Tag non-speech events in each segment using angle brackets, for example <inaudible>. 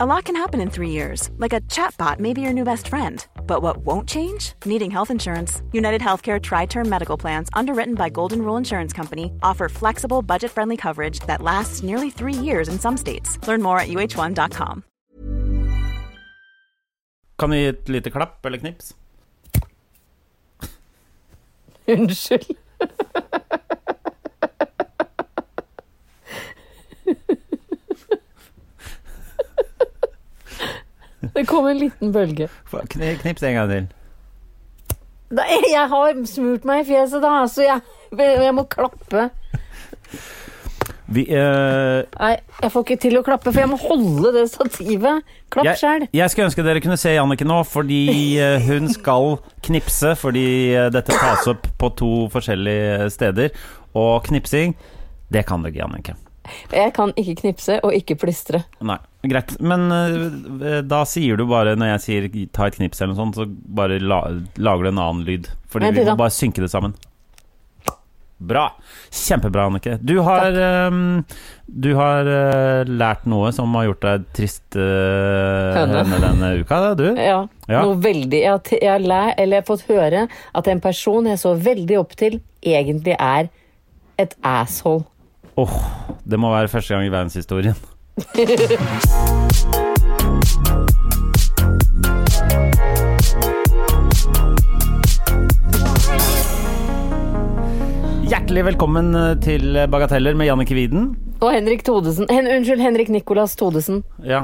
A lot can happen in three years, like a chatbot may be your new best friend. But what won't change? Needing health insurance. United Healthcare Tri Term Medical Plans, underwritten by Golden Rule Insurance Company, offer flexible, budget friendly coverage that lasts nearly three years in some states. Learn more at uh1.com. Kan vi gi et lite klapp eller knips? <laughs> Unnskyld. Det kom en liten bølge. Kni- Knips en gang til. Da, jeg har smurt meg i fjeset, da, så jeg, jeg må klappe. Vi, eh, Nei, jeg får ikke til å klappe, for jeg må holde det stativet. Klapp sjæl. jeg, jeg skulle ønske dere kunne se Jannicke nå, fordi eh, hun skal knipse. Fordi eh, dette tas opp på to forskjellige steder. Og knipsing, det kan du ikke, Jannicke. Jeg kan ikke knipse og ikke plistre. Nei, greit. Men eh, da sier du bare, når jeg sier ta et knips eller noe sånt, så bare la, lager du en annen lyd. Fordi Nei, du vi da. må bare synke det sammen. Bra. Kjempebra, Annike. Du har, eh, du har eh, lært noe som har gjort deg trist eh, Høne. høne denne uka, du. Ja, Ja. noe veldig Jeg har, t- jeg, har læ- eller jeg har fått høre at en person jeg så veldig opp til, egentlig er et asshole. Åh, det må være første gang i verdenshistorien. Hjertelig velkommen eh, til Bagateller med Jannicke Widen. Og Henrik Thodesen Hen, Unnskyld, Henrik Nicolas Thodesen. Ja.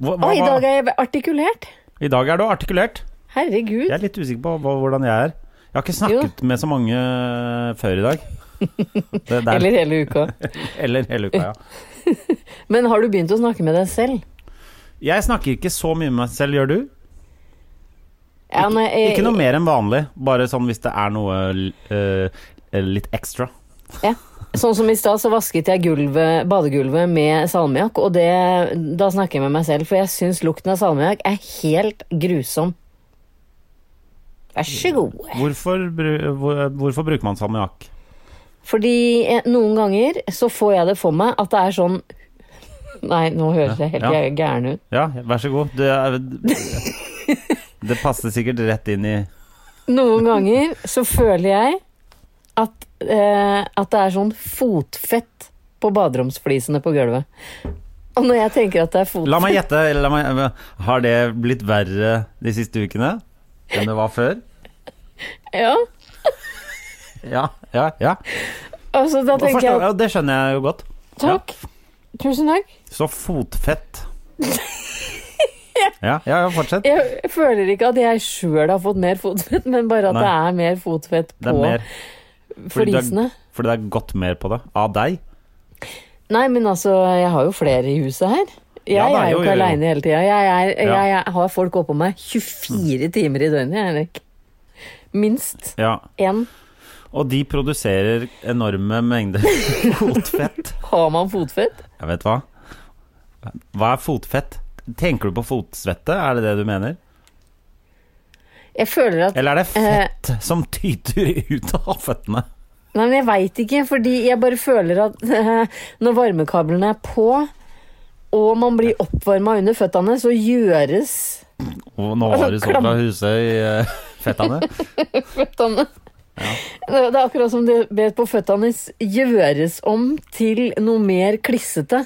Hva, Å, hva, i dag er jeg artikulert! I dag er du artikulert. Herregud. Jeg er litt usikker på hva, hvordan jeg er. Jeg har ikke snakket med så mange eh, før i <laughs> dag. Det der, Eller hele uka. eller hele uka, ja. Men har du begynt å snakke med deg selv? Jeg snakker ikke så mye med meg selv, gjør du? Ja, nei, jeg- Ikke noe mer enn vanlig, bare sånn hvis det er noe eh, litt ekstra. Ja. Sånn som i stad, så vasket jeg gulvet, badegulvet med salmiakk, og det, da snakker jeg med meg selv, for jeg syns lukten av salmiakk er helt grusom. Vær så god. Hvorfor, bru- hvor, hvorfor bruker man salmiakk? Fordi eh, noen ganger så får jeg det for meg at det er sånn <laughs> Nei, nå høres jeg helt Ja, ja. gæ- gæren ut. Ja, vær så god. Det, <laughs> er, det passer sikkert rett inn i Noen ganger så føler jeg at, eh, at det er sånn fotfett på baderomsflisene på gulvet. Og når jeg tenker at det er fotfett La meg gjette. eller La meg, har det blitt verre de siste ukene enn det var før? <laughs> Ja, Ja. ja, ja. altså da Og tenker forstår- jeg ja, det skjønner jeg jo godt. Takk. Tusen takk. Så fotfett. <laughs> Ja, ja, ja fortsett. Jeg føler ikke at jeg sjøl har fått mer fotfett, men bare at Nei. det er mer fotfett Det er på mer. fordi det er- flisene. Fordi det er godt mer på det. Av deg. Nei, men altså, jeg har jo flere i huset her. Jeg Ja da, er jo, jo jo, ikke jo. aleine hele tida. Jeg, er- jeg, Ja. Mm. jeg har folk oppå meg 24 timer i døgnet, jeg, Henrik. Minst Ja. én. Og de produserer enorme mengder <laughs> fotfett. Har man fotfett? Jeg vet hva. Hva er fotfett? Tenker du på fotsvette, er det det du mener? Jeg føler at Eller er det fett som tyter ut av føttene? Nei, men jeg veit ikke, fordi jeg bare føler at <laughs> eh, når varmekablene er på, og man blir oppvarma under føttene, så gjøres Og nå Altså, har du sånn klam- fra Husøy eh, fettene. føttene Det det er akkurat som det bet på føttene gjøres om til noe mer klissete.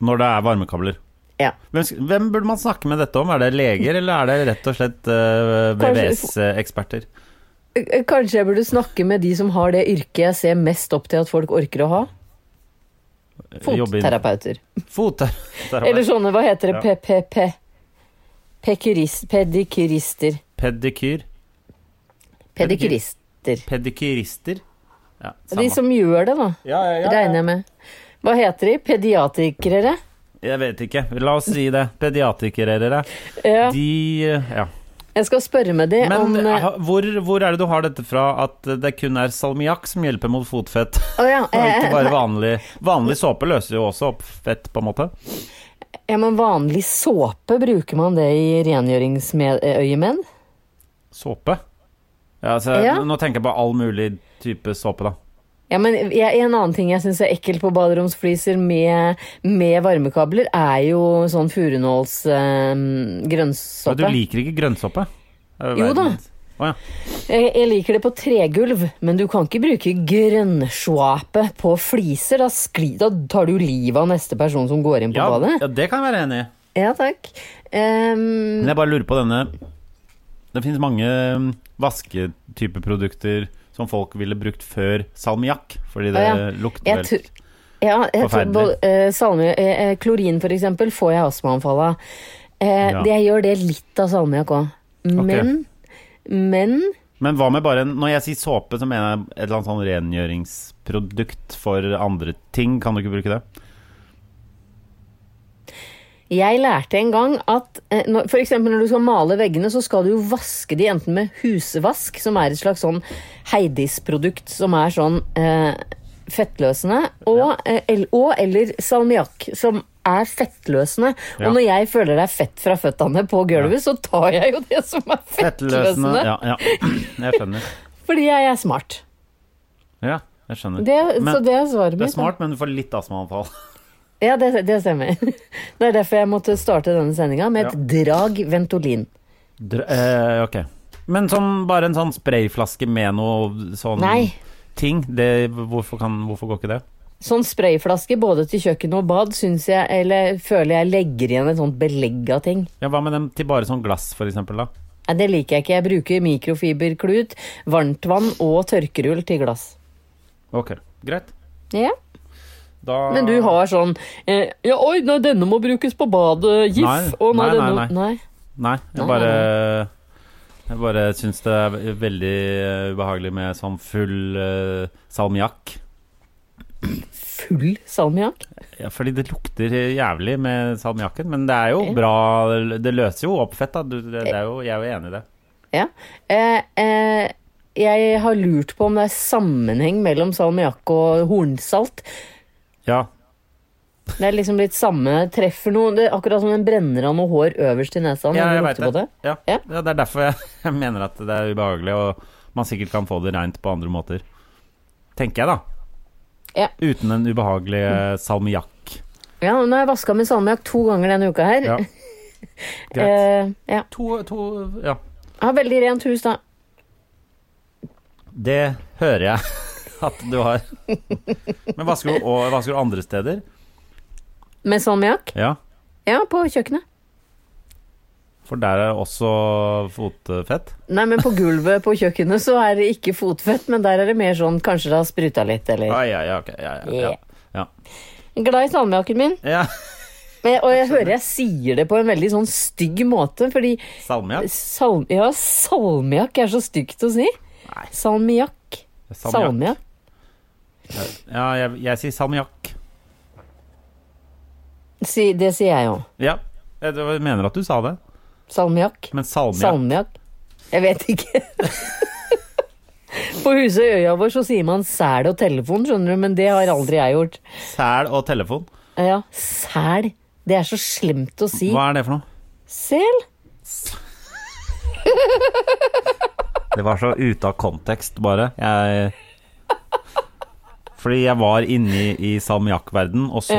Når det er varmekabler. Ja. Hvem, sk- hvem burde man snakke med dette om? Er det leger, eller er det rett og slett eh, VVS-eksperter? Eh, Kanskje jeg burde snakke med de som har det yrket jeg ser mest opp til at folk orker å ha. Fotterapeuter. Eller Fotterapeut. sånne, hva heter det, Ja. PPP? Pekuris- Pedikurister. Pedikyr. Pedikurister. Pedikyrister. Ja, De samme. som gjør det, da. Ja, ja, ja, ja. Regner jeg med. Hva heter de? Pediatrikere? Jeg vet ikke. La oss si det. Pediatrikerere. Ja. De eh, Ja. Jeg skal spørre med de Men om eh, ha, hvor, hvor er det du har dette fra at det kun er salmiakk som hjelper mot fotfett? <laughs> Å ja, Og ikke eh, bare vanlig Vanlig såpe løser jo også opp fett, på en måte. ja, men vanlig såpe, bruker man det i rengjøringsøyemed? Såpe? Ja, altså, Ja. Nå tenker jeg på all mulig type såpe, da. Ja, men jeg, En annen ting jeg syns er ekkelt på baderomsfliser med, med varmekabler, er jo sånn furunåls eh, Men Du grønnsoppe. liker ikke grønnsoppe? Det er Jo da. verdens- Å ja. Jeg, jeg liker det på tregulv, men du kan ikke bruke grønnsjape på fliser. Da, skli, da tar du livet av neste person som går inn på Ja, badet. ja, det kan jeg være enig i. Ja, takk. Ehm, Men jeg bare lurer på denne Det finnes mange mm, vasketype produkter som folk ville brukt før salmiakk, fordi det Å ja. lukter Jeg vel tror- ja, jeg tror Forferdelig. både, eh, salmi, eh, eh, klorin for eksempel får jeg astmaanfall av. Eh, Ja. det- Jeg gjør det litt av salmiakk òg. Men, men Men hva med bare en, Når jeg sier såpe, så mener jeg et eller annet sånn rengjøringsprodukt for andre ting. Kan du ikke bruke det? jeg lærte en gang at eh, når, for eksempel når du skal male veggene, så skal du jo vaske de enten med husvask, som er et slags sånn Heidis-produkt som er sånn eh, fettløsende, og, eh, el, og eller salmiakk, som er fettløsende. Ja. Og når jeg føler det er fett fra føttene på gulvet, så tar jeg jo det som er fettløsende. Ja, ja. Jeg skjønner. Fordi jeg er smart. Ja, jeg skjønner. Det, så men, det er sånn. svaret mitt. det er smart, men du får litt astmaanfall. Ja, det, det stemmer. <laughs> Det er derfor jeg måtte starte denne sendinga med et drag Ventolin. Dr- eh, ok. Men sånn, bare en sånn sprayflaske med noe sånn Nei. ting, det, hvorfor, kan, hvorfor går ikke det? Sånn sprayflaske både til kjøkken og bad syns jeg, eller føler jeg legger igjen et sånt belegg av ting. Ja, Hva med dem til bare sånn glass, for eksempel, da? Nei, det liker jeg ikke. Jeg bruker mikrofiberklut, varmtvann og tørkerull til glass. Ok, greit. Ja, Da Men du har sånn eh, Ja, oi, nei, denne må brukes på badet. Gif. Nei, Å, nei, nei, nei, denne- nei. Nei, jeg Nei, bare Jeg bare syns det er ve- veldig eh, ubehagelig med sånn full eh, salmiakk. Full salmiakk. Ja, fordi det lukter jævlig med salmiakken, men det er jo Ja. bra Det løser jo opp fett, da. Du, det, det er jo, jeg er jo enig i det. Ja. Eh, eh, jeg har lurt på om det er sammenheng mellom salmiakk og hornsalt. Ja, Det er liksom litt samme treffer noe. Det er akkurat som den brenner av noe hår øverst i nesa. når ja du jeg lukter veit på det. Ja. Ja. Ja, det er derfor jeg, <laughs> jeg mener at det er ubehagelig, og man sikkert kan få det reint på andre måter. Tenker jeg, da. Ja. Uten den ubehagelige salmiakk. Ja, nå har jeg vaska med salmiakk to ganger denne uka her. Ja. Greit. Eh, ja. To, to Ja. Jeg har veldig rent hus, da. Det hører jeg <laughs> at du har. Men vasker du, og, vasker du andre steder? Med salmiakk? Ja. Ja, på kjøkkenet. For der er også fotfett? Nei, men på gulvet på kjøkkenet så er det ikke fotfett, men der er det mer sånn kanskje det har spruta litt, eller Ja, Ah, ja, ja. ok, ja, ja, ja. Glad i salmiakken min. ja. ja. Eh, Og jeg hører jeg sier det på en veldig sånn stygg måte, fordi Salmiakk? Salm, ja, salmiakk er så stygt å si. Salmiakk. Salmiakk. Ja, jeg, jeg sier salmiakk. Si, det sier jeg òg. Ja. Jeg jeg mener at du sa det, Salmiakk. men salmiakk Salmiakk. Jeg vet ikke. <laughs> På huset i øya vår så sier man sæl og telefon, skjønner du, men det har aldri jeg gjort. Sæl og telefon. Ja, sæl. Det er så slemt å si. Hva er det for noe? Sel? Det var så ute av kontekst, bare. Jeg fordi jeg var inne i salmiakkverden, og så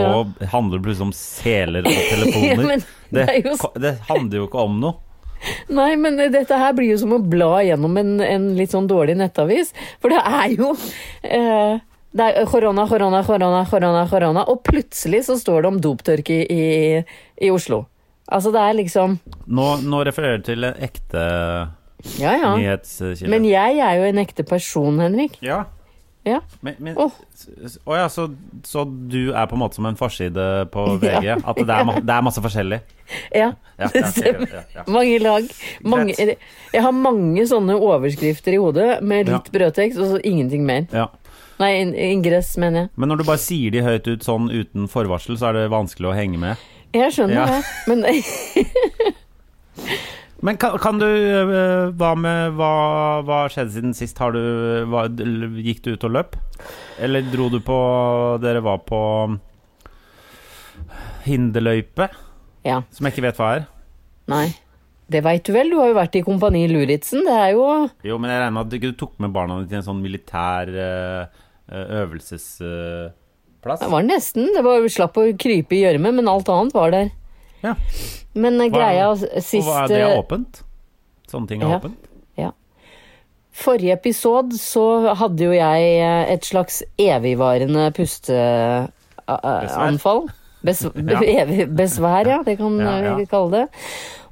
handler det plutselig om seler og telefoner. <laughs> Ja, men det, det er jo- ko- det handler jo ikke om noe. Nei, men dette her blir jo som å bla gjennom en, en litt sånn dårlig nettavis. For det er jo eh, Det er korona, korona, korona, korona, korona. Og plutselig så står det om doptørke i, i, i Oslo. Altså, det er liksom Nå, nå refererer du til en ekte Ja, ja. nyhetskilde. Men jeg er jo en ekte person, Henrik. ja. Ja. Men, men, Åh. s- s- å ja, så, så du er på en måte som en forside på <laughs> Ja. VG? At det er, ma det er masse forskjellig? Ja, Ja, det <laughs> ja, stemmer. ja, ja, ja. Mange lag. Mange, Greit. jeg har mange sånne overskrifter i hodet, med litt brødtekst og så ingenting mer. ja. Nei, in- ingress, mener jeg. Men når du bare sier de høyt ut sånn uten forvarsel, så er det vanskelig å henge med. Jeg skjønner Ja. det, men <laughs> Men kan, kan du øh, Hva med Hva hva har skjedd siden sist? Har du hva, Gikk du ut og løp? Eller dro du på Dere var på hinderløype, Ja, som jeg ikke vet hva er. nei. Det veit du vel, du har jo vært i Kompani Luritzen. Det er jo Jo, men jeg regner med at du ikke tok med barna dine til en sånn militær øh, eh, øvelsesplass. Det var nesten. Det var slapp å krype i gjørme, men alt annet var der. Ja. Men eh, greia sist Og hva er det eh, åpent? Sånne ting er Ja. åpent? Forrige episode så hadde jo jeg eh, et slags evigvarende eh, pusteanfall. <laughs> Ja. Besvær, ja. Det kan Ja, ja. vi kalle det.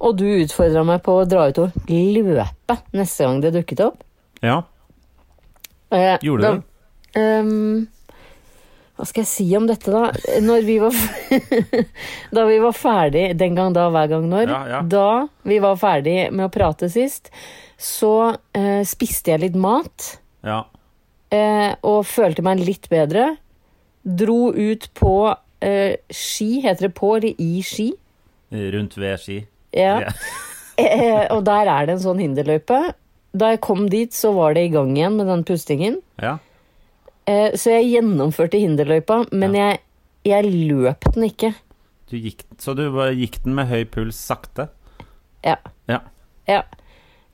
Og du utfordra meg på å dra ut og løpe neste gang det dukket opp. Ja. Eh, Gjorde da- du det? Ehm, hva skal jeg si om dette, da? Når vi var f- <laughs> Da vi var ferdig den gang da, hver gang når. Ja, ja. Da vi var ferdig med å prate sist, så eh, spiste jeg litt mat Ja. eh, og følte meg litt bedre. Dro ut på eh, ski, heter det på eller i ski? Rundt ved ski. Ja. Ja. <laughs> Eh, og der er det en sånn hinderløype. Da jeg kom dit, så var det i gang igjen med den pustingen. Ja. Eh, Så jeg gjennomførte hinderløypa, men jeg, jeg løp den ikke. Du gikk, så du bare gikk den med høy puls sakte? Ja. Ja. ja.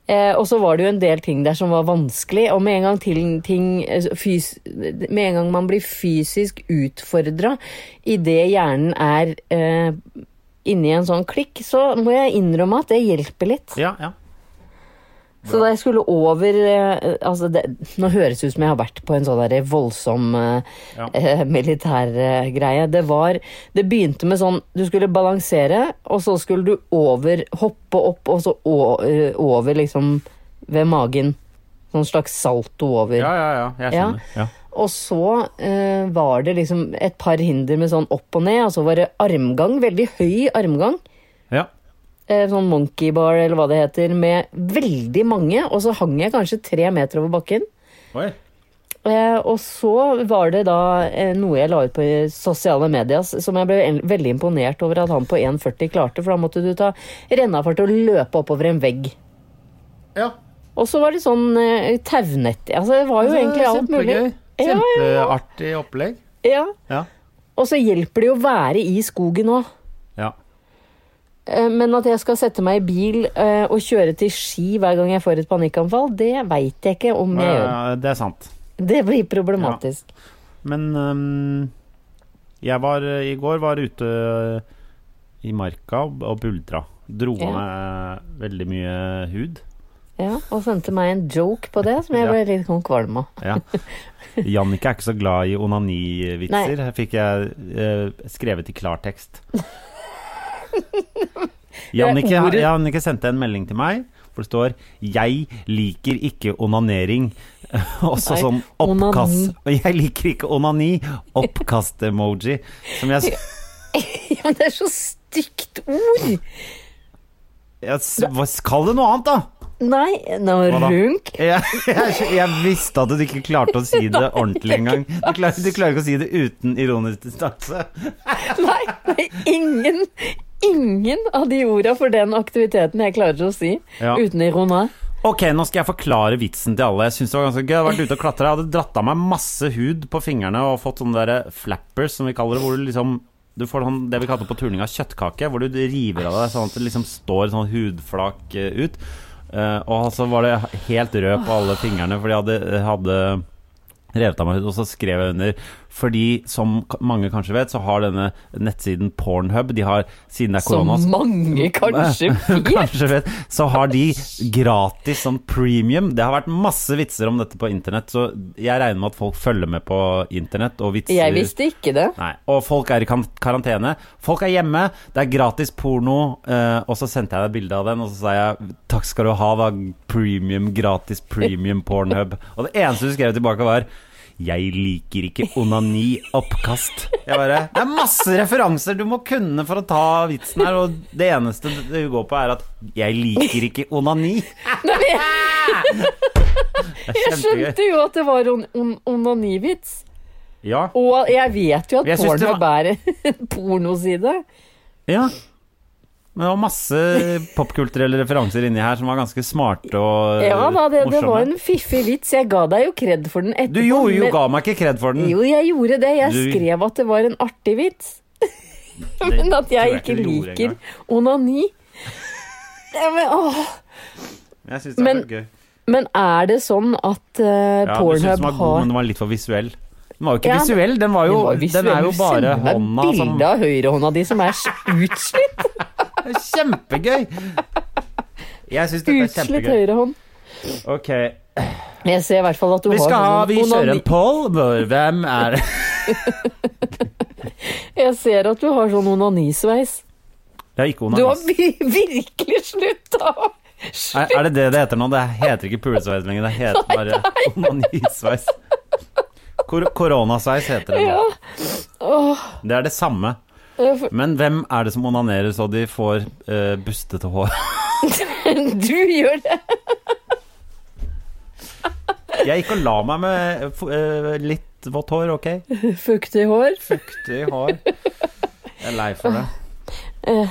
Eh, og så var det jo en del ting der som var vanskelig, og med en gang, til, ting, eh, fys, med en gang man blir fysisk utfordra idet hjernen er eh, inni en sånn klikk, så må jeg innrømme at det hjelper litt. Ja, ja. Så da jeg skulle over eh, altså det, Nå høres det ut som jeg har vært på en sånn der voldsom eh, Ja. eh, militærgreie. Det var Det begynte med sånn Du skulle balansere, og så skulle du over Hoppe opp, og så å, eh, over liksom ved magen. Sånn slags salto over. Ja, ja, ja. Jeg Ja. skjønner. Ja. Og så eh, var det liksom et par hinder med sånn opp og ned, og så var det armgang. Veldig høy armgang ja. eh, sånn monkey bar eller hva det heter, med veldig mange, og så hang jeg kanskje tre meter over bakken. Oi. Eh, og så var det da eh, noe jeg la ut på sosiale medier s- som jeg ble en- veldig imponert over at han på 1,40 klarte, for da måtte du ta rennafart og løpe oppover en vegg. Ja. Og så var det sånn eh, taunett Altså, det var jo egentlig alt mulig. Kjempegøy. Ja, ja, ja. Kjempeartig opplegg. Ja. Ja. Og så hjelper det jo å være i skogen òg. Ja. Eh, Men at jeg skal sette meg i bil eh, og kjøre til Ski hver gang jeg får et panikkanfall, det veit jeg ikke om jeg gjør. Eh, Det er sant. Det blir problematisk. Men øhm, jeg var eh, i går var ute eh, i marka og og buldra. Dro Ja. av meg veldig mye hud. Ja, og sendte meg en joke på det som jeg Ja. ble litt sånn kvalm av. Ja. Jannicke er ikke så glad i onanivitser, Her fikk jeg eh, skrevet i klartekst. Jannicke, ordet. Jannicke sendte en melding til meg hvor det står 'Jeg liker ikke onanering'. <laughs> Også Nei, sånn oppkast... <laughs> Jeg liker ikke onani. Oppkast-emoji. Som jeg, s- Ja, men det er så stygt ord! jeg s- hva- Kall det noe annet, da! Nei, nå Hva da? runk. Jeg, <laughs> jeg, jeg visste at du ikke klarte å si det ordentlig engang. Du klarer, du klarer ikke å si det uten ironisk distanse. Nei, nei, ingen Ingen av de orda for den aktiviteten jeg klarer å si Ja. uten ironi. Ok, nå skal jeg forklare vitsen til alle. Jeg synes det var ganske gøy. Jeg hadde vært ute og klatra. Jeg hadde dratt av meg masse hud på fingrene og fått sånne der flappers, som vi kaller det, hvor du liksom du får sånn, det vi kaller på turninga kjøttkake, hvor du river av deg sånn at det liksom står sånn hudflak eh, ut. Eh, og så var det helt rød på alle fingrene, for de hadde, hadde revet av meg hud. Og så skrev jeg under. Fordi, som k- mange kanskje vet, så har denne nettsiden Pornhub De har, siden det er Som korona, så mange kanskje <laughs> vet. Kanskje vet, så har de gratis som premium. Det har vært masse vitser om dette på internett, så jeg regner med at folk følger med på internett og vitser. Jeg visste ikke det. Nei, og folk er i kan- karantene. Folk er hjemme, det er gratis porno. eh, og så sendte jeg deg et bilde av den, og så sa jeg takk skal du ha, da. Premium, gratis premium pornhub. Og det eneste du skrev tilbake, var jeg liker ikke onani, oppkast. Jeg bare, det er masse referanser du må kunne for å ta vitsen her, og det eneste du går på, er at jeg liker ikke onani. <laughs> Nei, men jeg, Det er jeg kjempegøy. skjønte jo at det var on- on- onanivits. Ja. Og jeg vet jo at Jeg synes det porno bærer en pornoside. Ja. Men det var masse popkulturelle referanser inni her som var ganske smarte og eh, Ja da, det, det morsomme. var en fiffig vits. Jeg ga deg jo kred for den etterpå. Du jo, jo men- ga meg ikke kred for den. Jo, jeg gjorde det. Jeg Mm. Du- skrev at det var en artig <laughs> vits. Men at tror jeg jeg ikke ikke du gjorde liker engang. onani. Ja, men, åh. Jeg syns det var Men- litt gøy. men er det sånn at eh, Ja, du synes Pornhub den var god, har men den var litt for visuell. Den var jo ikke Ja, visuell, den, var jo, Den var den er jo visuell. bare Send meg hånda altså. som Bilde av høyrehånda di som er utslitt. <laughs> Kjempegøy! Jeg syns dette er Utslitt kjempegøy. høyrehånd. Ok, Jeg ser i hvert fall at du Vi har skal ha sånn Vi kjører en onani- poll. Hvem er <laughs> det? Jeg ser at du har sånn onanisveis. Det er ikke Du har onanis. vi- <laughs> virkelig slutta å Er, er det det det heter nå? Det heter ikke pulesveis lenger, det heter bare onanisveis. Kor koronasveis heter det nå. Ja. Åh, Det er det samme. jeg får- Men hvem er det som onanerer så de får eh, bustete hår? <laughs> du gjør det. Jeg gikk og la meg med f- eh, litt vått hår, ok? Fuktig hår. Fuktig hår. Jeg er lei for det. Eh,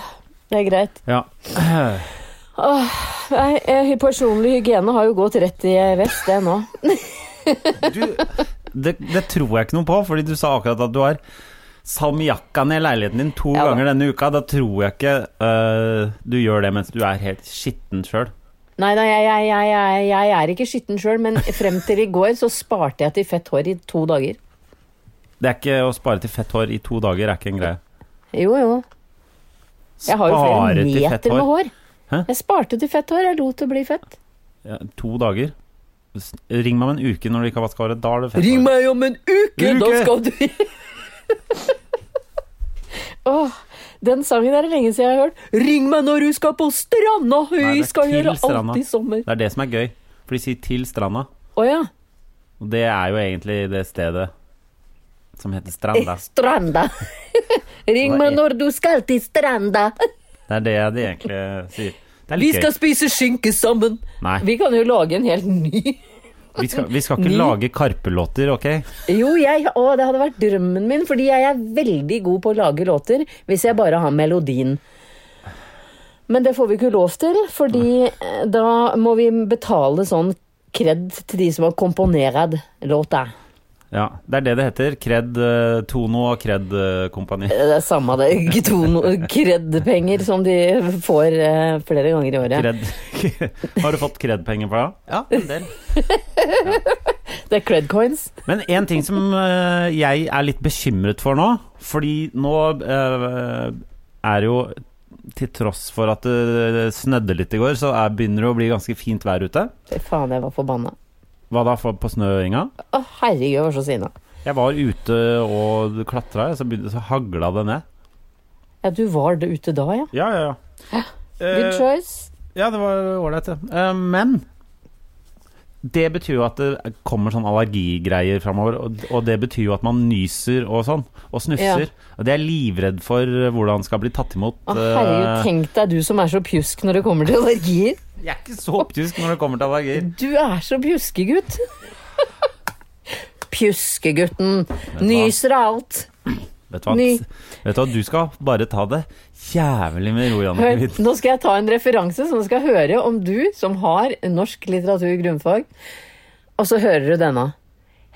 Det er greit. Ja. Nei, eh, personlig hygiene har jo gått rett i eh, vest, det nå. Du, det, det tror jeg ikke noe på, fordi du sa akkurat at du har salmiakka ned i leiligheten din to Ja da. ganger denne uka. Da tror jeg ikke eh, du gjør det mens du er helt skitten sjøl. Nei da, jeg, jeg, jeg, jeg, jeg er ikke skitten sjøl, men frem til i går så sparte jeg til fett hår i to dager. Det er ikke å spare til fett hår i to dager er ikke en greie. Jo, jo. Jeg har jo Spare til flere fett meter med hår. Hæ? Jeg sparte til fett hår. Jeg lot det bli fett. Ja, to dager. S- Ring meg om en uke når du ikke har vaska håret. Da er det fett hår. meg om en uke, da Uke! skal du <laughs> Åh, den sangen er det lenge siden jeg har hørt. Ring meg når du skal på stranda, Nei, det er skal skal til gjøre gjøre alt stranda. alt i i sommer. Det er det som er gøy. For de sier 'til stranda', Å ja. og det er jo egentlig det stedet som heter <laughs> Stranda. <laughs> Eh, Stranda. Ring Hva meg er- når du skal til stranda. Det er det de egentlig sier. Det er Vi litt gøy. skal spise skinke sammen. Nei, Vi kan jo lage en helt ny vi skal, vi skal ikke Ny- lage Karpe-låter, ok? <laughs> Jo, jeg, å, det hadde vært drømmen min, fordi jeg er veldig god på å lage låter hvis jeg bare har melodien. Men det får vi ikke lov til, fordi eh, da må vi betale sånn kred til de som har komponert låta. Ja, det er det det heter. Kred eh, Tono og Kred eh, Kompani. Eh, Det er samme det, ikke to <laughs> no- kredpenger som de får eh, flere ganger i året. Kred. <laughs> Har du fått Kred-penger fra det? Ja, en del. Det er cred coins. Men en ting som eh, jeg er litt bekymret for nå, fordi nå eh, er jo til tross for at det snødde litt i går, så er, begynner det å bli ganske fint vær ute. Fy faen, jeg var forbanna. Hva da for, på snøinga? Å, herregud, jeg var så sinna. Jeg var ute og klatra, så, begynte- så hagla det ned. Ja, du var det ute da, ja. Ja, ja, ja. Good Eh, choice. ja, det var ålreit, det. Eh, men det betyr jo at det kommer sånn allergigreier framover. Og, og det betyr jo at man nyser og sånn, og snufser. Og det er jeg livredd for eh, hvordan skal bli tatt imot. Å, herregud, eh, tenk deg du som er så pjusk når det kommer til allergier. jeg er ikke så opptysk når det kommer til allergier. Du er så pjuskegutt. <laughs> Pjuskegutten. Nyser av alt. Vet du hva, Ny. vet du, hva? du skal bare ta det jævlig med ro, Janne. Hør, nå skal jeg ta en referanse, så nå skal jeg høre om du som har norsk litteratur i grunnfag. Og så hører du denne.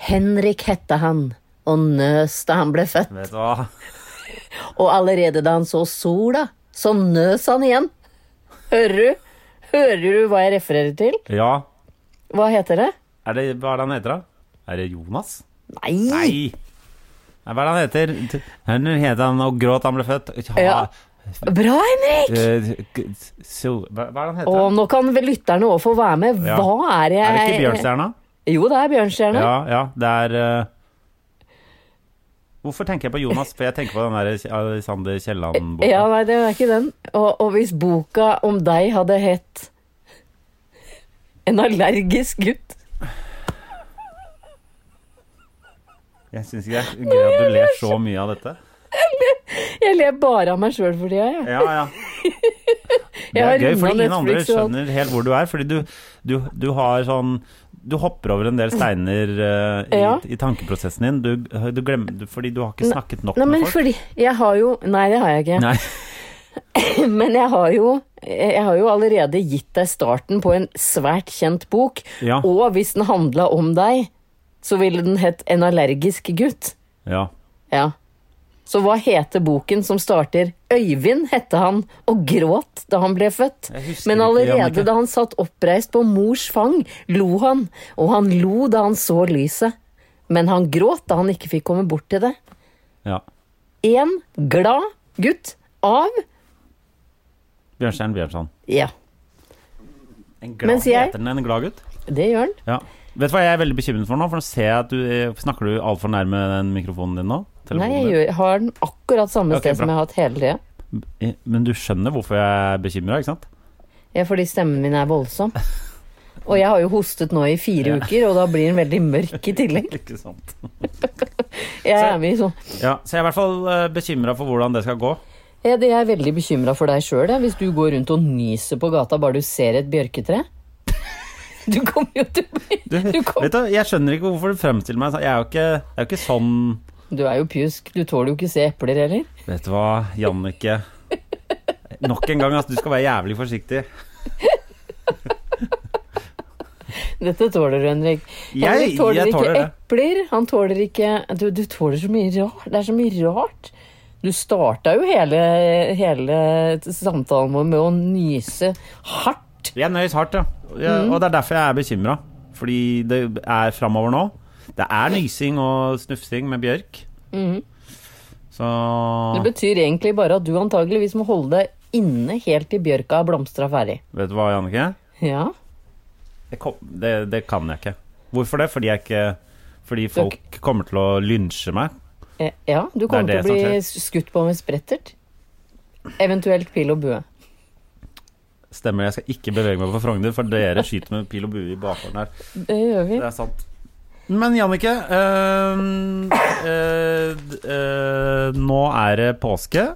Henrik hette han, og nøs da han ble født. Vet du hva? Og allerede da han så sola, så nøs han igjen. Hører du? Hører du hva jeg refererer til? Ja, Hva heter det? er det, hva er det han heter, da? Er det Jonas? Nei! Nei! Nei, Hva er det han heter? Han heter han og gråt han ble født. Ja. Ja. Bra, Henrik! eh, k- so, hva, hva er det han heter? Og nå kan vel lytterne òg få være med. Ja. Hva er det jeg Er det ikke Bjørnstjerna? Jo, det er Bjørnstjerne. Ja, ja, det er eh, Hvorfor tenker jeg på Jonas? For jeg tenker på den der Alexander Kielland-boka. Ja, nei, det er ikke den. Og, og hvis boka om deg hadde hett En allergisk gutt Jeg syns ikke det er gøy at du ler så mye av dette. Jeg ler bare av meg sjøl for tida, <laughs> jeg. Ja, ja. Det Jeg har er gøy, rundet fordi ingen andre Netflix og alt. skjønner helt hvor du er. Fordi du, du, du har sånn Du hopper over en del steiner eh, i, Ja. i tankeprosessen din. Du, du glemmer du, Fordi du har ikke snakket nok Nei, men med folk. fordi Jeg har jo Nei, det har jeg ikke. Nei, <laughs> Men jeg har jo jeg har jo allerede gitt deg starten på en svært kjent bok. Ja. Og hvis den handla om deg, så ville den hett En allergisk gutt. ja. Ja. Så hva heter boken som starter 'Øyvind' hette han og gråt da han ble født? Jeg husker Men ikke, allerede Jannicke. da han satt oppreist på mors fang, lo han, og han lo da han så lyset. Men han gråt da han ikke fikk komme bort til det. Ja. En glad gutt av Bjørnstjerne Bjørnson. Ja, En Mens jeg- Heter den en glad gutt? det gjør han. Ja. Vet du hva jeg er veldig bekymret for nå? For nå ser jeg at du eh, Snakker du altfor nærme den mikrofonen din nå? Nei, jeg Telefonen din. gjør, har den akkurat samme Ok, sted som bra. jeg har hatt hele tida. Eh, Men du skjønner hvorfor jeg er bekymra, ikke <laughs> sant? Ja, fordi stemmen min er voldsom. Og jeg har jo hostet nå i fire Ja. uker, og da blir den veldig mørk i tillegg. Ikke sant. Jeg er med i sånn. Ja, så jeg er i hvert fall bekymra for hvordan det skal gå. Jeg jeg er veldig bekymra for deg sjøl, hvis du går rundt og nyser på gata bare du ser et bjørketre. Du kommer jo til å bli Du, Du <laughs> kom- vet du, Jeg skjønner ikke hvorfor du fremstiller meg sånn. Jeg er jo ikke, jeg er jo ikke sånn Du er jo pjusk, du tåler jo ikke se epler heller. Vet du hva, <laughs> Jannicke. Nok en gang, altså. Du skal være jævlig forsiktig. Dette tåler du, Henrik. Jeg, Henrik tåler jeg ikke tåler det. epler. Han tåler ikke Du, du tåler så mye rart. Det er så mye rart. Du starta jo hele, hele samtalen vår med å nyse hardt. Jeg nøys hardt, ja. Mhm. Jeg, og det er derfor jeg er bekymra. Fordi det er framover nå. Det er nysing og snufsing med bjørk. Så Mhm. Det betyr egentlig bare at du antageligvis må holde deg inne helt til bjørka er blomstra ferdig. Vet du hva, Jannicke? Ja. Det, kom, det, det kan jeg ikke. Hvorfor det? Fordi jeg ikke Fordi folk kommer til å lynsje meg. Eh, Ja, du kommer Det til er å det som bli skutt på med sprettert. Eventuelt pil og bue. Stemmer, jeg skal ikke bevege meg på Frogner, for dere skyter med pil og bue i bakgården her. Det gjør vi. Det er sant. Men Jannicke, øhm, øh, d- øh, nå er det påske.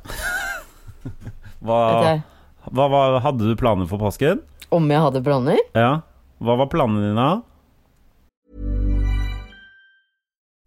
<laughs> Dette Hva, er hva, hva Hadde du planer for påsken? om jeg hadde planer. Ja. Hva var planene dine?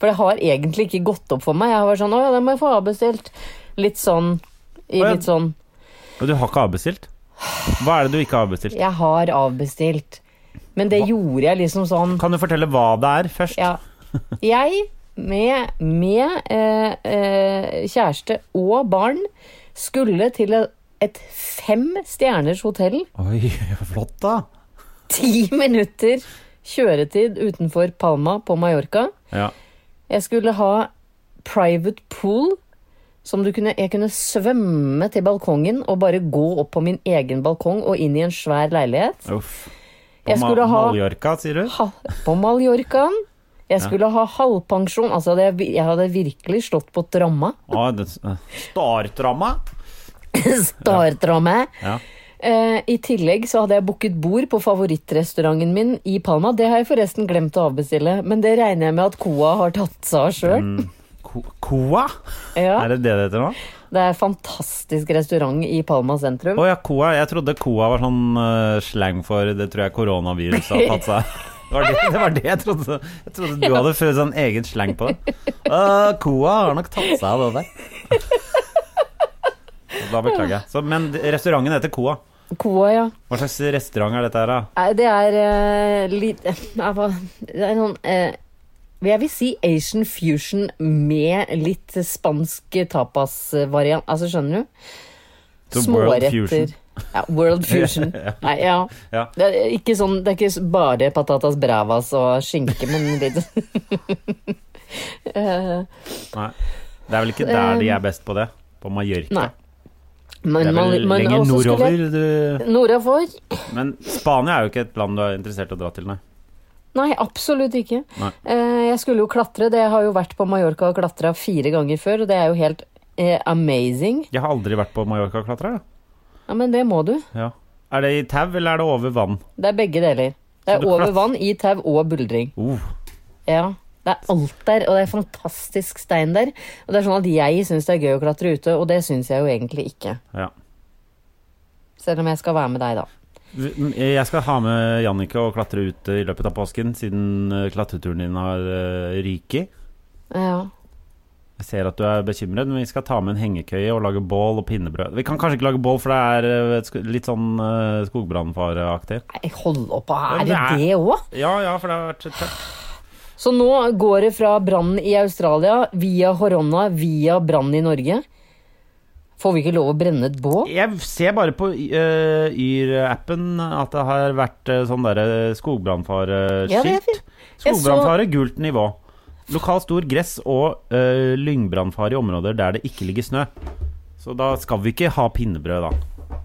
For det har egentlig ikke gått opp for meg. Jeg har vært sånn Å ja, det må jeg få avbestilt. Litt sånn i Å ja. litt sånn Og du har ikke avbestilt? Hva er det du ikke har avbestilt? Jeg har avbestilt. Men det gjorde jeg liksom sånn Kan du fortelle hva det er, først? <laughs> Ja. Jeg, med, med eh, eh, kjæreste og barn, skulle til et- et fem stjerners hotell Oi, <laughs> flott, da. ti minutter kjøretid utenfor Palma på Mallorca. Ja. Jeg skulle ha private pool, som du kunne, jeg kunne svømme til balkongen og bare gå opp på min egen balkong og inn i en svær leilighet. Uff. På Jeg Ma- skulle ha, Mallorca, sier du? ha på Mallorcaen. Jeg skulle ha halvpensjon. Altså, hadde jeg, jeg hadde virkelig slått på tramma. <clears throat> Å, det, startramma? Startramme. Ja. Eh, I tillegg så hadde jeg booket bord på favorittrestauranten min i Palma. Det har jeg forresten glemt å avbestille, men det regner jeg med at Koa har tatt seg av sjøl. Ko koa? Ja, Mm. Er det det det heter nå? det er en fantastisk restaurant i Palma sentrum. Å ja, koa. Jeg trodde koa var sånn eh, slang for det tror jeg koronaviruset har tatt seg. <laughs> Det var det, det var det jeg trodde. Jeg trodde du hadde fått sånn egen slang på det. Å, koa har nok tatt seg av det der. Da beklager jeg. Så, men restauranten heter Koa. Koa, ja. Hva slags restaurant er dette her, da? Nei, Det er eh, litt <laughs> eh, hva- Det er sånn eh, Jeg vil si Asian fusion med litt spansk tapas-variant. Altså, skjønner du? The World Småretter. Fusion. Ja, world <laughs> fusion. Nei, ja. Ja. Det er ikke sånn Det er ikke s- bare patatas bravas og skinke, men <laughs> Eh, litt Eh, Nei. Det er vel ikke der de er best på det? På Mallorca. Nei. Det Men er vel man, man lenger også skulle- nordover du Nordafor? Men Spania er jo ikke et land du er interessert i å dra til, nei. Nei, absolutt ikke. Nei. Eh, jeg skulle jo klatre. Det jeg har jo vært på Mallorca og klatra fire ganger før, og det er jo helt eh, amazing. Jeg har aldri vært på Mallorca og klatra. jeg. Ja, Men det må du. Ja. Er det i tau, eller er det over vann? Det er begge deler. Det Så er du over klat- vann, i tau og buldring. Oh, Ja. Det er alt der, og det er fantastisk stein der. Og det er sånn at jeg syns det er gøy å klatre ute, og det syns jeg jo egentlig ikke. ja. Selv om jeg skal være med deg, da. Jeg skal ha med Jannicke og klatre ute i løpet av påsken, siden eh, klatreturen din har eh, ryket. Ja. Jeg ser at du er bekymret, men vi skal ta med en hengekøye og lage bål og pinnebrød. Vi kan kanskje ikke lage bål, for det er eh, et sk- litt sånn eh, skogbrannfareaktig. Nei, hold opp, Ja, er det det er- det òg? Ja, ja, for det har vært tøft. Så nå går det fra brannen i Australia, via Horonna, via brann i Norge. Får vi ikke lov å brenne et bål? Jeg ser bare på eh, Yr-appen at det har vært eh, sånn derre skogbrannfareskilt. Ja, det er fint. Jeg så- Skogbrannfare, gult nivå. Lokal stor gress og eh, lyngbrannfare i områder der det ikke ligger snø. Så da skal vi ikke ha pinnebrød, da.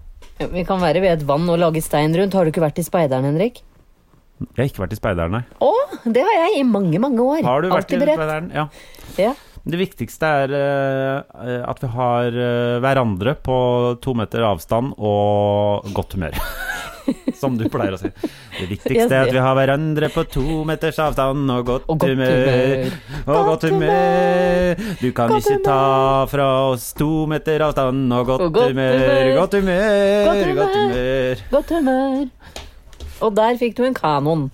Vi kan være ved et vann og lage stein rundt. Har du ikke vært i Speideren, Henrik? Jeg har ikke vært i Speideren, nei. Å, det har jeg i mange, mange år. Har du vært i Alltid beredt. Speideren? Ja. Ja. Det viktigste er eh, at vi har eh, hverandre på to meter avstand og godt humør. <laughs> Som du pleier å si. Det viktigste er at vi har hverandre på to meters avstand og godt, Og godt humør. humør. Og godt Godt humør. Du kan Godt ikke ta fra oss to meter avstand og godt, Og godt humør. humør. Godt humør. Godt humør. Godt humør. Godt humør. Og der fikk du en kanon.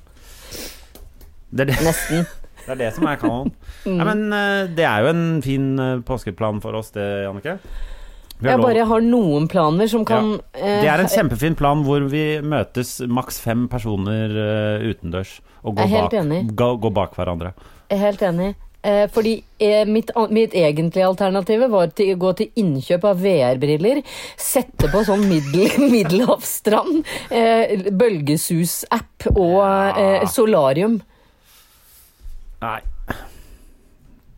Det er det, Nesten. det, er det som er kanon. Mm. Nei, men eh, det er jo en fin eh, påskeplan for oss, det, Jannicke. Vi har Jeg lov- bare har noen planer som kan Ja. Det er en eh, kjempefin plan hvor vi møtes maks fem personer eh, utendørs og Jeg går er helt bak, enig. gå, gå bak hverandre. Jeg er helt enig. Eh, fordi eh, mitt, an- mitt egentlige alternativ var til, å gå til innkjøp av VR-briller, sette på sånn middel, <laughs> middelhavsstrand, eh, bølgesus-app og eh, solarium. Nei.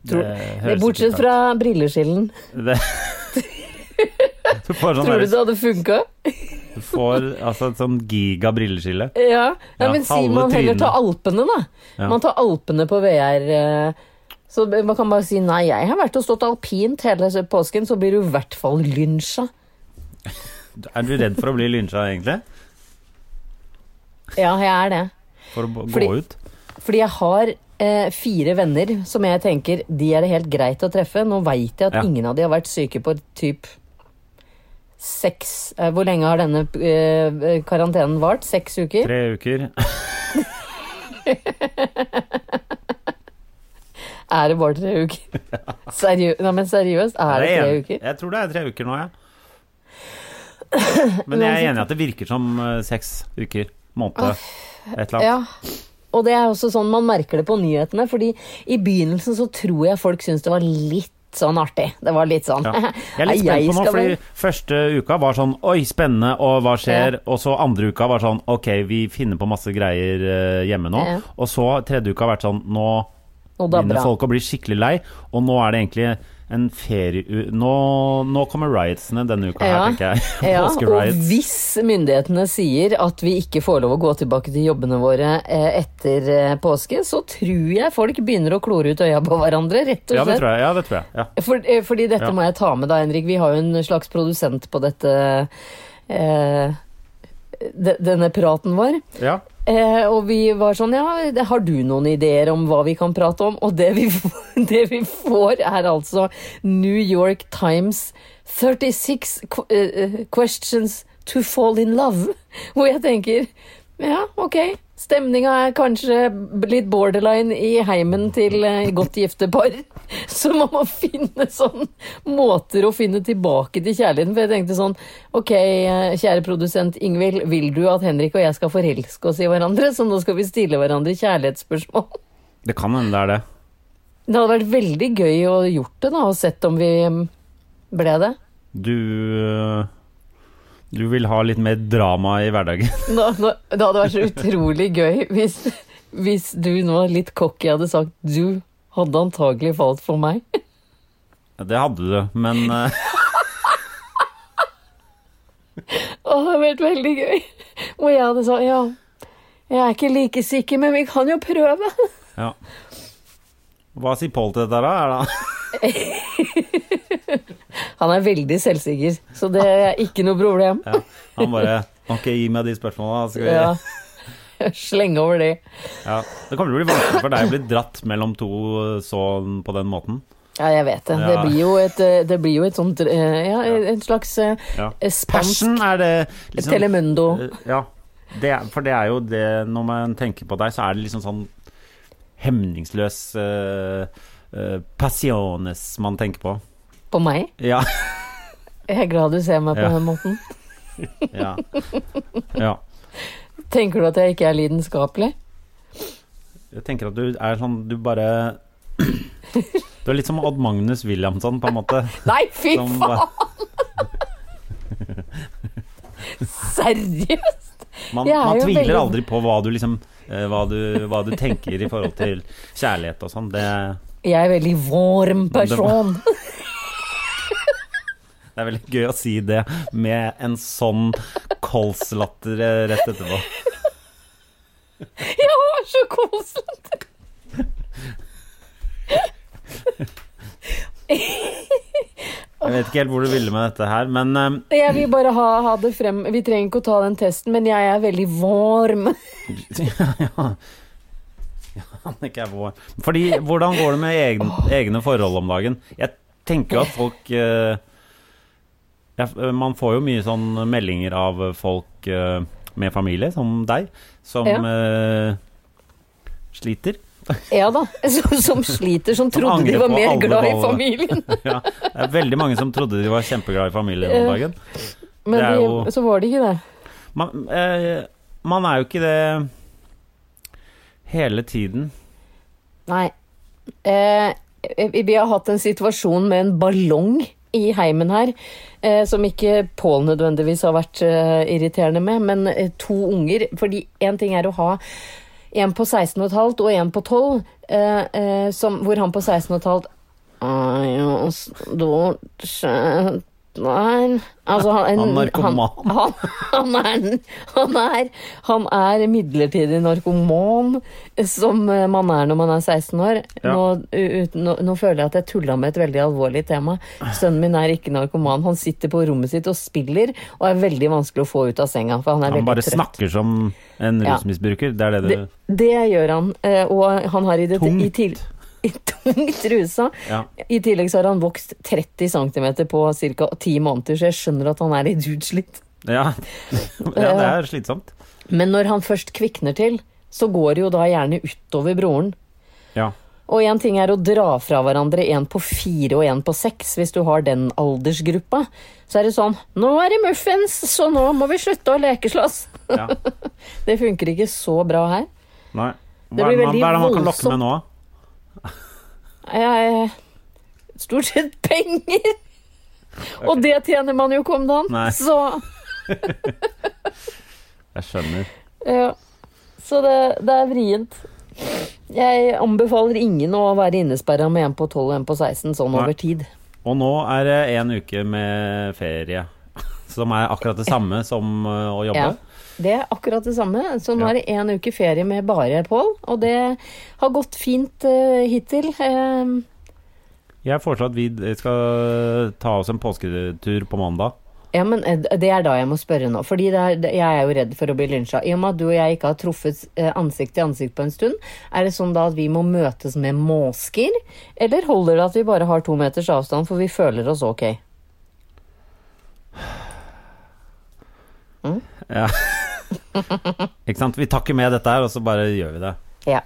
Tror- høres Bortsett ikke ut. fra brilleskillen. Det- <laughs> Du får, sånn Tror der- du det hadde funka? du får altså, et sånn giga brilleskille. Ja. Nei, men si halve man heller trynet. tar Alpene, da. Ja. Man tar Alpene på VR. eh, Så man kan bare si nei, jeg har vært og stått alpint hele påsken, så blir du i hvert fall lynsja. Er du redd for å bli lynsja, egentlig? Ja, jeg er det. For å b- gå Fordi- ut? Fordi jeg har eh, fire venner som jeg tenker de er det helt greit å treffe. Nå veit jeg Ja. at ingen av de har vært syke på typ seks eh, Hvor lenge har denne eh, karantenen vart? Seks uker? Tre uker? Er det bare <laughs> tre uker? Seriø Nei, men seriøst, er det tre en- uker? Jeg tror det er tre uker nå, <coughs> ja. Men jeg er enig i at det virker som eh, seks uker. Måned. Et eller annet. Ja. Og det er også sånn man merker det på nyhetene, fordi i begynnelsen så tror jeg folk syntes det var litt sånn artig. Det var litt <laughs> sånn Ja. Jeg er litt «Nei, spent på nå, skal fordi bli- første uka var sånn Oi, spennende, og hva skjer? Ja. Og så andre uka var sånn Ok, vi finner på masse greier eh, hjemme nå. Ja. Og så tredje uka har vært sånn Nå Nå dabber begynner han. folk å bli skikkelig lei, og nå er det egentlig en ferie... Nå, nå kommer riotsene denne uka Ja. her, tenker jeg. <laughs> Ja, og Påskeriots. hvis myndighetene sier at vi ikke får lov å gå tilbake til jobbene våre eh, etter eh, påske, så tror jeg folk begynner å klore ut øya på hverandre, rett og Ja, det slett. tror jeg. Ja, det tror jeg. Ja. For, eh, fordi Ja. dette må jeg ta med da, Henrik. Vi har jo en slags produsent på dette eh, de, denne praten vår. Ja. Eh, og vi var sånn, ja, det- har du noen ideer om hva vi kan prate om? Og det vi, får- <laughs> det vi får er altså New York Times 36 qu eh, eh, questions to fall in love. <laughs> Hvor jeg tenker, ja, ok, stemninga er kanskje litt borderline i heimen til eh, godt gifte par. <laughs> Så man må finne sånn måter å finne tilbake til kjærligheten. For jeg tenkte sånn, ok, eh, kjære produsent Ingvild, vil du at Henrik og jeg skal forelske oss i hverandre? Så nå skal vi stille hverandre kjærlighetsspørsmål. <laughs> Det kan hende det er det. Det hadde vært veldig gøy å gjort det da, og sett om vi mm, ble det. Du øh, Du vil ha litt mer drama i hverdagen. Nå, nå, det hadde vært så utrolig gøy hvis, hvis du nå litt cocky hadde sagt du hadde antagelig falt for meg. eh, Det hadde du, men øh, Å, det har vært veldig gøy. <laughs> Hvor jeg hadde sagt ja, jeg er ikke like sikker, men vi kan jo prøve. <laughs> Ja. Hva sier Pål til dette, da? Er det- Han er veldig selvsikker, så det er ikke noe problem. Ja. Han bare Ok, gi meg de spørsmåla. Skal vi... Ja. <laughs> ja. <laughs> Slenge over det. Det kommer til å bli vanskelig for deg å bli dratt mellom to sånn på den måten. Ja, jeg vet det. Det Ja. blir jo et, eh, det blir jo et sånt eh, Ja, en slags eh, Ja. spansk Passion er det liksom Telemundo. Eh, Ja, det er, for det er jo det Når man tenker på deg, så er det liksom sånn hemningsløs uh, passiones man tenker på. På meg? Ja. Jeg er glad du ser meg på Ja. den måten. <laughs> ja. ja. Tenker du at jeg ikke er lidenskapelig? Jeg tenker at du er sånn Du bare <clears throat> Du er litt som Odd Magnus Williamson, på en <laughs> måte. Nei, fy Som faen! bare- Seriøst? Man, Jeg er man jo tviler veldig- aldri på hva du liksom eh, hva du, hva du tenker i forhold til kjærlighet og sånn. Det, Jeg er en veldig varm person. <laughs> det er veldig gøy å si det med en sånn kolslatter eh, rett etterpå. Jeg var så koselig! Jeg vet ikke helt hvor du ville med dette her, men eh, Jeg vil bare ha, ha det frem. Vi trenger ikke å ta den testen, men jeg er veldig varm. <laughs> ja, ja. Ikke er vår. Fordi, hvordan går det med egne, egne forhold om dagen? Jeg tenker jo at folk eh, jeg, Man får jo mye sånn meldinger av folk eh, med familie, som deg, som Ja. eh, sliter. Ja da. <laughs> Som, som sliter, som trodde de angrer var på mer alle glad i valgene. familien. ja, det er veldig mange som trodde de var kjempeglade i familien om dagen. Men Det er de, jo- så var det ikke det. Man, eh, man er jo ikke det hele tiden. Nei. Eh, vi vi har hatt en situasjon med en ballong i heimen her, eh, som ikke Pål nødvendigvis har vært eh, irriterende med, men eh, to unger. Fordi én ting er å ha en på 16,5 og en på 12, eh, eh, som, hvor han på 16,5 er jo stort sett Nei altså, han, Han er narkoman. Han, han, han, er, han, er, han er midlertidig narkoman, som eh, man er når man er 16 år. Ja. Nå, u- ut, nå, nå føler jeg at jeg tulla med et veldig alvorlig tema. Sønnen min er ikke narkoman. Han sitter på rommet sitt og spiller, og er veldig vanskelig å få ut av senga. For han er Han veldig bare trøtt. snakker som en Ja. rusmisbruker. Det er det du Det, det gjør han, eh, og han har i det i Tungt. til, i tungt rusa. Ja. I tillegg så har han vokst 30 cm på ca. 10 måneder, så jeg skjønner at han er litt utslitt. <laughs> Ja. ja, det er slitsomt. Men når han først kvikner til, så går det jo da gjerne utover broren. Ja. Og én ting er å dra fra hverandre en på fire og en på seks, hvis du har den aldersgruppa. Så er det sånn Nå er det muffins, så nå må vi slutte å lekeslåss. ja. Det funker ikke så bra her. Nei. <laughs> Det Hva blir er det man, veldig hva er det man kan lokke voldsomt. med nå? Jeg, eh, stort sett penger! Og det tjener man jo ikke om dagen. Nei. Så Jeg skjønner. Ja. Så det, det er vrient. Jeg anbefaler ingen å være innesperra med en på 12 og en på 16 sånn Nei. over tid. Og nå er det en uke med ferie, som er akkurat det samme som eh, å jobbe. Ja. Det er akkurat det samme. Så nå Ja. er det én uke ferie med bare Pål, og det har gått fint eh, hittil. Eh, Jeg foreslår at vi d- skal ta oss en påsketur på mandag. ja, men eh, det er da jeg må spørre nå, fordi det er, det- jeg er jo redd for å bli lynsja. I og med at du og jeg ikke har truffet eh, ansikt til ansikt på en stund, er det sånn da at vi må møtes med måsker? Eller holder det at vi bare har to meters avstand, for vi føler oss ok? Ikke sant? Vi tar ikke med dette her, og så bare gjør vi det. Ja.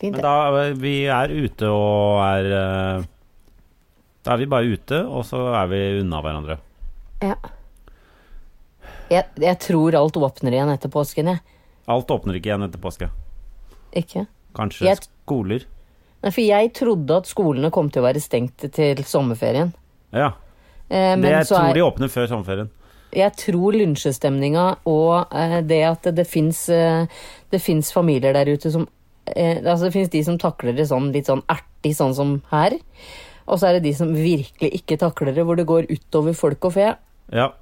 Fint, Men det. da eh, vi er ute og er eh, Da er vi bare ute, og så er vi unna hverandre. Ja. Jeg, jeg tror alt åpner igjen etter påsken, jeg. Alt åpner ikke igjen etter påske. Ikke? Kanskje Jeg- skoler. Nei, for jeg trodde at skolene kom til å være stengt til sommerferien. Ja. Eh, men Det jeg så tror er, de åpner før sommerferien. jeg tror lynsjestemninga og eh, det at det fins eh, det finnes familier der ute som eh, Altså det fins de som takler det sånn litt sånn ertig, sånn som her. Og så er det de som virkelig ikke takler det, hvor det går utover folk og fe. Ja.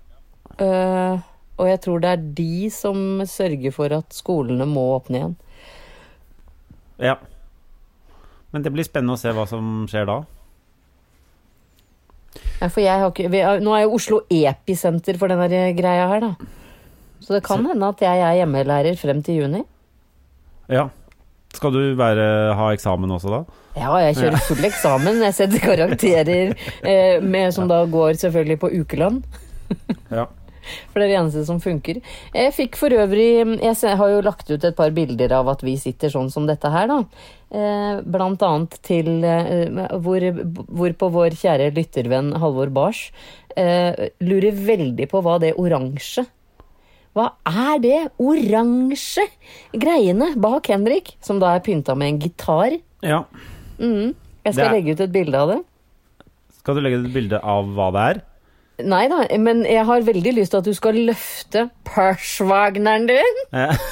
Eh, og jeg tror det er de som sørger for at skolene må åpne igjen. Ja. Men det blir spennende å se hva som skjer da. Ja, for jeg har ikke, vi har, nå er jo Oslo episenter for denne greia her, da. Så det kan hende at jeg er hjemmelærer frem til juni. Ja. Skal du være, ha eksamen også da? Ja, jeg kjører full eksamen. Jeg setter karakterer, eh, med, som da går selvfølgelig på ukelønn. Ja. For det er det eneste som funker. Jeg fikk for øvrig Jeg se- har jo lagt ut et par bilder av at vi sitter sånn som dette her, da. Eh, Blant annet til eh, hvor, Hvorpå vår kjære lyttervenn Halvor Bars eh, lurer veldig på hva det oransje Hva er det oransje greiene bak Henrik, som da er pynta med en gitar? ja. Jeg skal Det er- legge ut et bilde av det. Skal du legge ut et bilde av hva det er? <laughs> Nei da, men jeg har veldig lyst til at du skal løfte Perschwagneren din. Eh,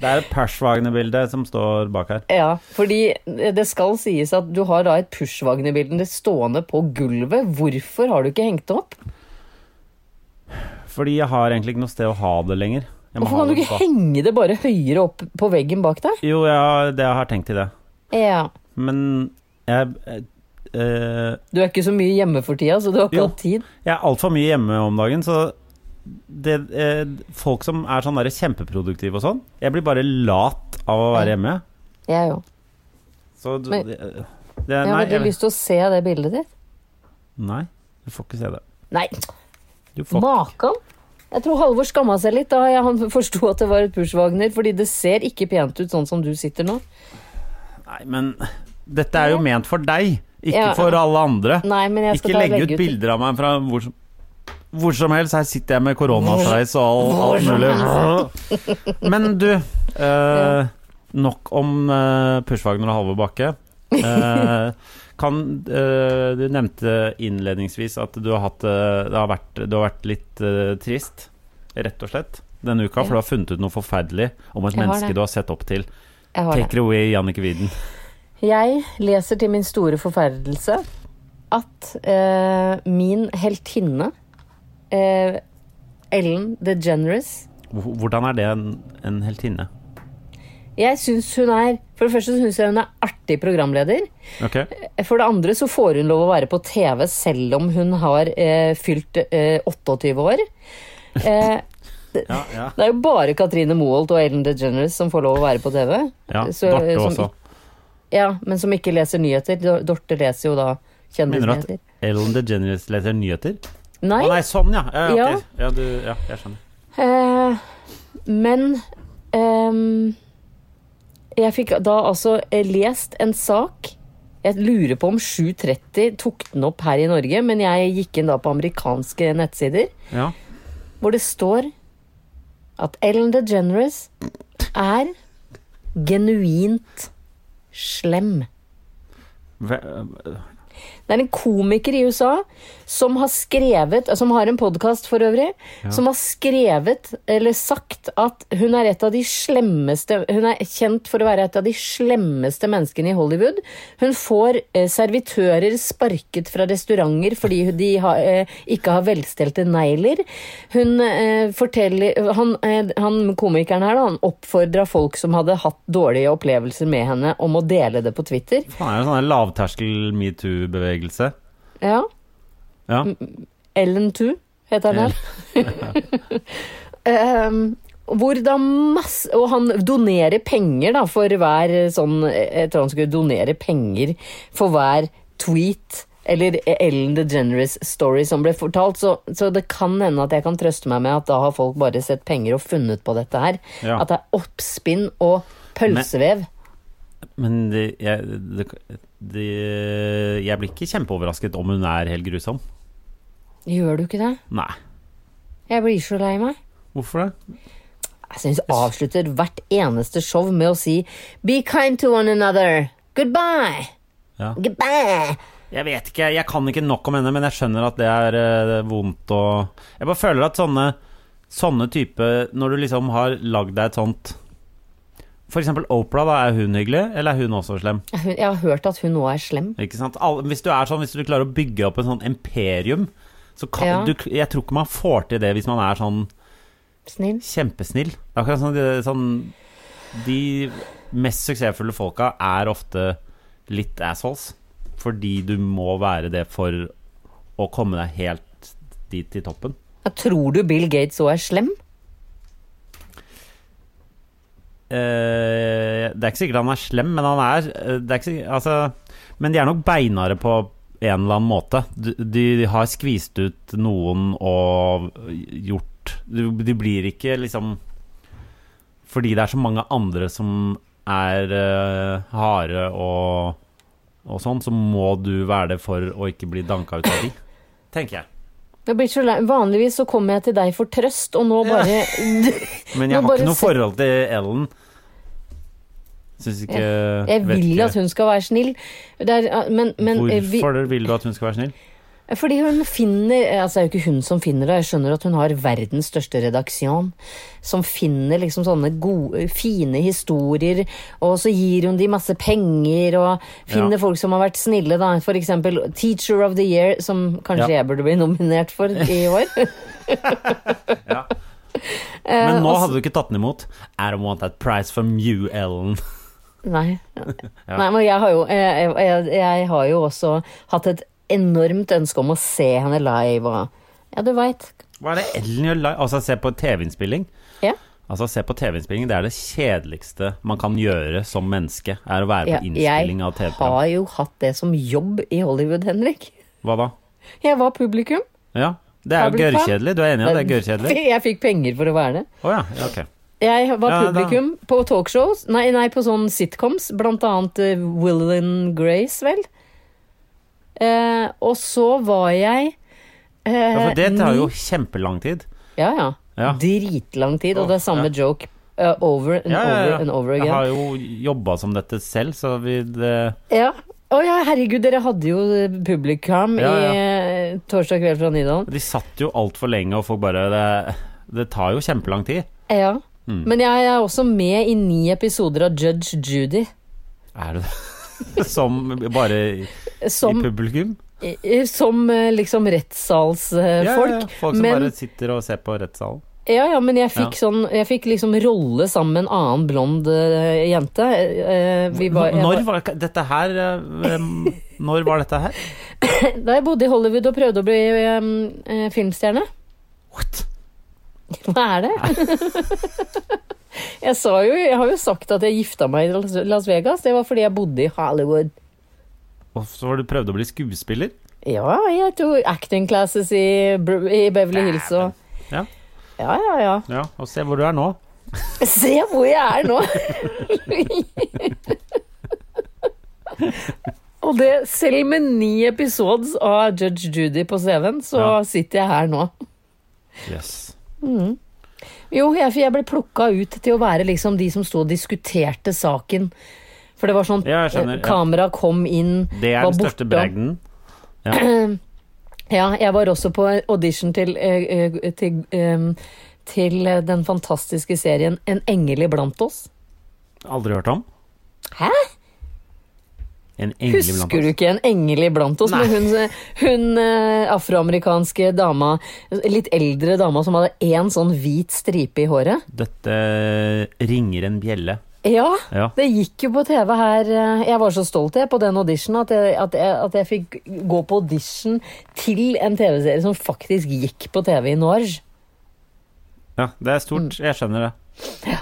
Det er et Perschwagner-bilde som står bak her. Ja, fordi det skal sies at du har da et Pushwagner-bilde stående på gulvet. Hvorfor har du ikke hengt det opp? Fordi jeg har egentlig ikke noe sted å ha det lenger. Jeg må Hvorfor ha kan du det ikke på- henge det bare høyere opp på veggen bak deg? Jo, jeg har, det jeg har tenkt i det. Ja. Men jeg eh, eh, Du er ikke så mye hjemme for tida, så du har ikke Jo. hatt tid. Jeg er altfor mye hjemme om dagen, så det, eh, folk som er sånn der kjempeproduktive og sånn Jeg blir bare lat av å være hjemme. Jeg òg. Så d- Men- det, det, Jeg har Eh, Nei, veldig jeg, lyst til å se det bildet ditt. nei, du får ikke se det. Nei, Du får, maken! Jeg tror Halvor skamma seg litt da jeg- han forsto at det var et Pushwagner, fordi det ser ikke pent ut sånn som du sitter nå. nei, men dette er jo ment for deg, ikke Ja. for alle andre. Nei, men jeg skal Ikke ta og legge ut bilder av meg fra hvor som hvor som helst, her sitter jeg med koronasveis og all- alt mulig. Men <laughs> du, eh, nok om eh, Pushwagner og Halvor Bakke. Eh, kan, eh, du nevnte innledningsvis at du har, hatt, eh, det har, vært, du har vært litt eh, trist, rett og slett, denne uka. For du har funnet ut noe forferdelig om et Jeg har menneske det. du har sett opp til. Jeg har det. Take it away, Jannicke Widen. Jeg leser til min store forferdelse at eh, min heltinne eh, Ellen DeGeneres Hvor- Hvordan er det en, en heltinne? Jeg syns hun er For det første syns jeg hun er artig programleder. Ok? For det andre så får hun lov å være på TV selv om hun har eh, fylt eh, 28 år. Eh, Ja, ja. det er jo bare Katrine Moholt og Ellen DeGeneres som får lov å være på TV. ja. Så- eh, Dorte som, også. Ja, men som ikke leser nyheter. Dor- Dorte leser jo da Mener du at kjendisnyheter. Ellen DeGeneres leser nyheter? Å Nei, nei, sånn ja. Ja, ja, ok. ja, du, ja jeg skjønner. Eh, men ehm, jeg fikk da altså eh, lest en sak. Jeg lurer på om 730 tok den opp her i Norge, men jeg gikk inn da på amerikanske nettsider, Ja. hvor det står at Ellen DeGeneres er genuint slem. Ve- Det er en komiker i USA som har skrevet, som har en podkast for øvrig, som har skrevet eller sagt at hun er et av de slemmeste Hun er kjent for å være et av de slemmeste menneskene i Hollywood. Hun får eh, servitører sparket fra restauranter fordi hun- de har, eh, ikke har velstelte negler. Hun eh, forteller han, eh, han komikeren her, da, han oppfordra folk som hadde hatt dårlige opplevelser med henne, om å dele det på Twitter. Faen, er jo sånn der lavterskel metoo-bevegelse. Ja. Ja. Mm. Ellen 2 heter han <laughs> her. um, hvor da masse Og han donerer penger, da, for hver eh, sånn Jeg tror han skulle donere penger for hver tweet eller Ellen DeGeneres-story som ble fortalt. Så, så det kan hende at jeg kan trøste meg med at da har folk bare sett penger og funnet på dette her. Ja. At det er oppspinn og pølsevev. Men det, jeg, det, det, jeg blir ikke kjempeoverrasket om hun er helt grusom. Gjør du ikke det? Nei. Jeg blir så lei meg. Hvorfor det? Jeg synes hun avslutter hvert eneste show med å si Be kind to one another. Goodbye. Ja. Goodbye. Jeg vet ikke, jeg kan ikke nok om henne, men jeg skjønner at det er eh, vondt og Jeg bare føler at sånne, sånne type Når du liksom har lagd deg et sånt For eksempel Opera, da. Er hun hyggelig, eller er hun også slem? Hun- Jeg har hørt at hun nå er slem. Ikke sant? Alle, hvis du er sånn, hvis du klarer å bygge opp en sånn imperium Så kan, Ja. du, jeg tror ikke man får til det hvis man er sånn Snill. kjempesnill. Det er akkurat sånn, det, sånn De mest suksessfulle folka er ofte litt assholes. Fordi du må være det for å komme deg helt dit til toppen. Ja, tror du Bill Gates òg er slem? Eh, det er ikke sikkert han er slem, men han er, eh, det er ikke sikkert, altså, Men de er nok beinare på en eller annen måte. De, de har skvist ut noen og gjort De, de blir ikke liksom Fordi det er så mange andre som er eh, harde og, og sånn, så må du være det for å ikke bli danka ut av de, tenker jeg. Jeg blir så lei. Vanligvis så kommer jeg til deg for trøst, og nå bare <laughs> Men jeg Nå har bare ikke noe se- forhold til Ellen. Syns ikke Jeg vet vil ikke. at hun skal være snill. Det er, men, men, eh, vi, Hvorfor vil du at hun skal være <laughs> snill? fordi hun finner altså Det er jo ikke hun som finner det. Jeg skjønner at hun har verdens største redaksjon, som finner liksom sånne gode, fine historier, og så gir hun de masse penger, og finner Ja. folk som har vært snille, da. For eksempel Teacher of the Year, som kanskje Ja. jeg burde bli nominert for <laughs> i år. Eh, Men nå hadde du ikke tatt den imot. I don't want that prize from you, <laughs> Ellen. Nei. Nei, men jeg har, jo, jeg, jeg, jeg har jo også hatt et enormt ønske om å se henne live og Ja, du veit. Hva er det Ellen gjør live? Altså, se på TV-innspilling. Ja. Altså, se på TV-innspilling, Det er det kjedeligste man kan gjøre som menneske. Er å være Ja, på jeg innspilling av TV-program. har jo hatt det som jobb i Hollywood, Henrik. Hva da? Jeg var publikum. Ja, det er Har jo blitt fan. gørrkjedelig. Du er enig i at det er <laughs> gørrkjedelig? Jeg fikk penger for å være det. Å ja, ja, ok. Jeg var Ja, da- publikum på talkshows, nei, nei, på sånne sitcoms, blant annet eh, Will and Grace, vel. Eh, og så var jeg eh, Ja, for det tar jo ni- kjempelang tid. ja, ja. Ja. Dritlang tid, og det er samme Ja. joke eh, over and Ja, ja, over and ja. over Jeg again. har jo jobba som dette selv, så vi det, Ja. Å ja, herregud, dere hadde jo eh, publikum Ja, ja. i eh, Torsdag kveld fra Nydalen. De satt jo altfor lenge, og folk bare Det, det tar jo kjempelang tid. Ja. Mm. Men jeg er også med i ni episoder av Judge Judy. Er du det? <laughs> Som bare i- i Som, publikum? eh, som eh, liksom rettssalsfolk. Ja, ja, ja. Folk som men, bare sitter og ser på rettssalen. ja, ja, men jeg fikk, sånn, jeg fikk liksom rolle sammen med en annen blond eh, jente. Eh, vi var, jeg Når var, var dette her eh, em, Når var dette her? da jeg bodde i Hollywood og prøvde å bli eh, eh, filmstjerne. What? Hva er det? <laughs> jeg, sa jo, jeg har jo sagt at jeg gifta meg i Las- Las Vegas. Det var fordi jeg bodde i Hollywood. Og så var du prøvde å bli skuespiller? Ja, jeg tok acting classes i, Br- i Beverly Hills og Ja. Ja, ja, ja. ja. Og se hvor du er nå. Se hvor jeg er nå! <laughs> og det, selv med ni episodes av Judge Judy på CV-en, så Ja. sitter jeg her nå. Yes. Jo, jeg, for jeg ble plukka ut til å være liksom de som sto og diskuterte saken. For det var sånn Ja, jeg skjønner, eh, ja. Kamera kom inn, Det er var den størte borte. bragden. Ja, jeg var også på audition til, eh, eh, til, eh, til eh, den fantastiske serien En engel iblant oss. Aldri hørt om. Hæ? En engel blant Husker du oss. ikke En engel iblant oss? Men hun, hun eh, afroamerikanske dama, litt eldre dama som hadde én sånn hvit stripe i håret. Dette eh, ringer en bjelle. Ja, Ja. det gikk jo på TV her. eh, Jeg var så stolt jeg på den auditionen at jeg, at jeg, at jeg fikk gå på audition til en TV-serie som faktisk gikk på TV i Norge. Ja, det er Mm. stort. Jeg skjønner det.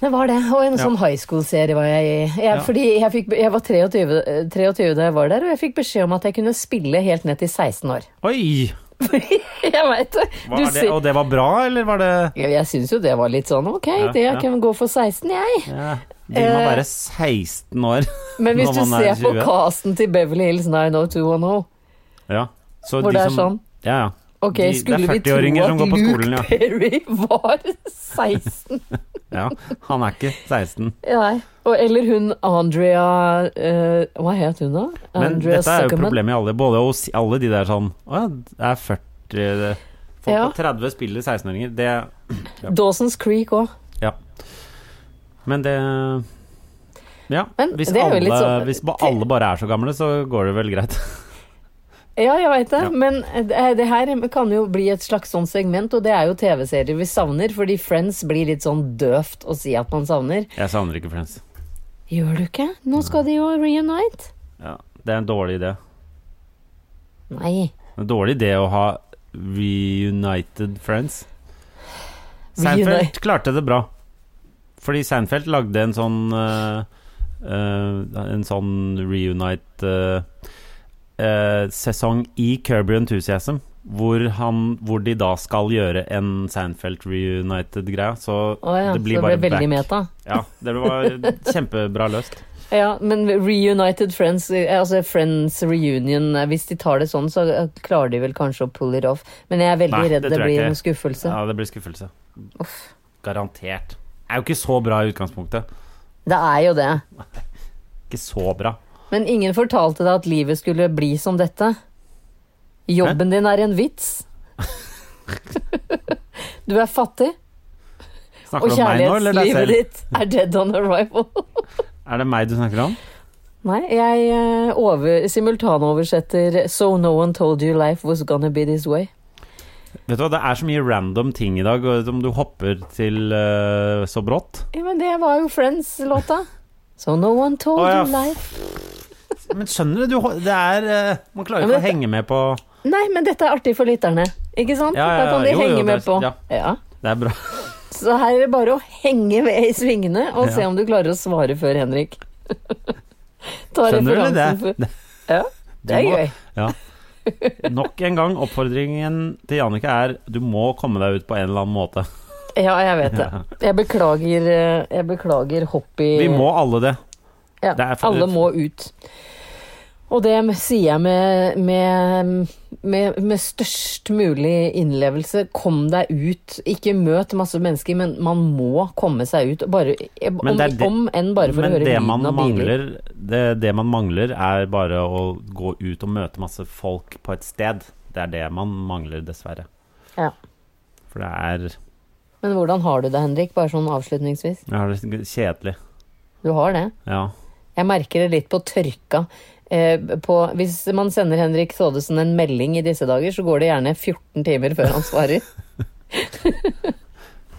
Det var det, og en Ja. sånn high school-serie var jeg i. Jeg, Fordi jeg, fikk, be- jeg var 23, eh, 23 da jeg var der, og jeg fikk beskjed om at jeg kunne spille helt ned til 16 år. Oi! <laughs> jeg veit det! Hva Du er det? ser- Og det var bra, eller var det Ja, Jeg syns jo det var litt sånn ok, Ja, det jeg ja. kan gå for 16, jeg. ja. Du må Eh, være 16 år Men hvis du når man ser er på 20. casten til Beverly Hills 90210 Ja. Så Hvor de det er som- sånn. Ja, ja. Ok, De- det er skulle vi tro 40-åringer som at går på Luke skolen, ja. Perry var <laughs> 16? ja. Han er ikke 16. Nei. Og, eller hun Andrea eh, Hva het hun da? Men Andrea dette er jo Zuckerman. problemet i alle, både hos alle de der sånn Å ja, det er 40 det- Folk Ja. på 30 spiller 16-åringer. Det Dawson's Creek òg. Ja. Men det Ja. Men hvis, det er jo alle, litt sånn- hvis ba, alle bare er så gamle, så går det vel greit. Ja, jeg veit det, Ja. men eh, det her kan jo bli et slags sånn segment, og det er jo TV-serier vi savner, fordi Friends blir litt sånn døvt å si at man savner. Jeg savner ikke Friends. Gjør du ikke? Nå skal de jo reunite. Ja, det er en dårlig idé. Nei. En dårlig idé å ha reunited friends. Reunite. Seinfeld klarte det bra. Fordi Seinfeld lagde en sånn eh, eh, En sånn reunite eh, eh, sesong i Kirby Enthusiasm. Hvor, han, hvor de da skal gjøre en Seinfeld reunited-greie. Så Å ja, det blir så det bare ble veldig back. meta. Ja, det var kjempebra <laughs> løst. Ja, men reunited friends, eh, altså friends reunion, eh, hvis de tar det sånn, så eh, klarer de vel kanskje å pull it off. Men jeg er veldig Nei, redd det det, tror jeg blir ikke. en skuffelse. Ja, det blir skuffelse. Garantert. Er jo ikke så bra i utgangspunktet. Det er jo det. Ikke så bra. Men ingen fortalte deg at livet skulle bli som dette. Jobben din er en vits. du er fattig, og Snakker du om meg nå, eller deg kjærlighetslivet selv? ditt er dead on arrival. Er det meg du snakker om? Nei, jeg eh, over, simultanoversetter So no one told you life was gonna be this way. Vet du hva, Det er så mye random ting i dag, og om du hopper til eh, så brått. Ja, men det var jo Friends-låta. So no one told Å, ja. you life. Men skjønner du, du ho- det er eh, Man klarer Ja, ikke men å dette- henge med på Nei, men dette er artig for lytterne. Ikke sant? Ja, ja, da kan de jo, jo, henge det er- med på. ja. ja. Det er bra. Så her er det bare å henge med i svingene og se Ja. om du klarer å svare før <laughs> Henrik. Ta Skjønner du det? referansen for- Det- Ja, det er du må- gøy. Ja. Nok en gang, oppfordringen til Jannicke er du må komme deg ut på en eller annen måte. Ja, jeg vet det. Jeg beklager, eh, jeg beklager hoppy Vi må alle det. ja, det er for- Alle må ut. Og det sier jeg med, med, med, med størst mulig innlevelse. Kom deg ut. Ikke møt masse mennesker, men man må komme seg ut. Bare, om, Men det er det- om enn bare for å Men høre det lyden man av biler. mangler, det, det man mangler, er bare å gå ut og møte masse folk på et sted. Det er det man mangler, dessverre. Ja. For det er Men hvordan har du det, Henrik? Bare sånn avslutningsvis. Jeg har det litt kjedelig. Du har det? Ja. Jeg merker det litt på tørka. Eh, på, hvis man sender Henrik Thodesen en melding i disse dager, så går det gjerne 14 timer før <laughs> han svarer.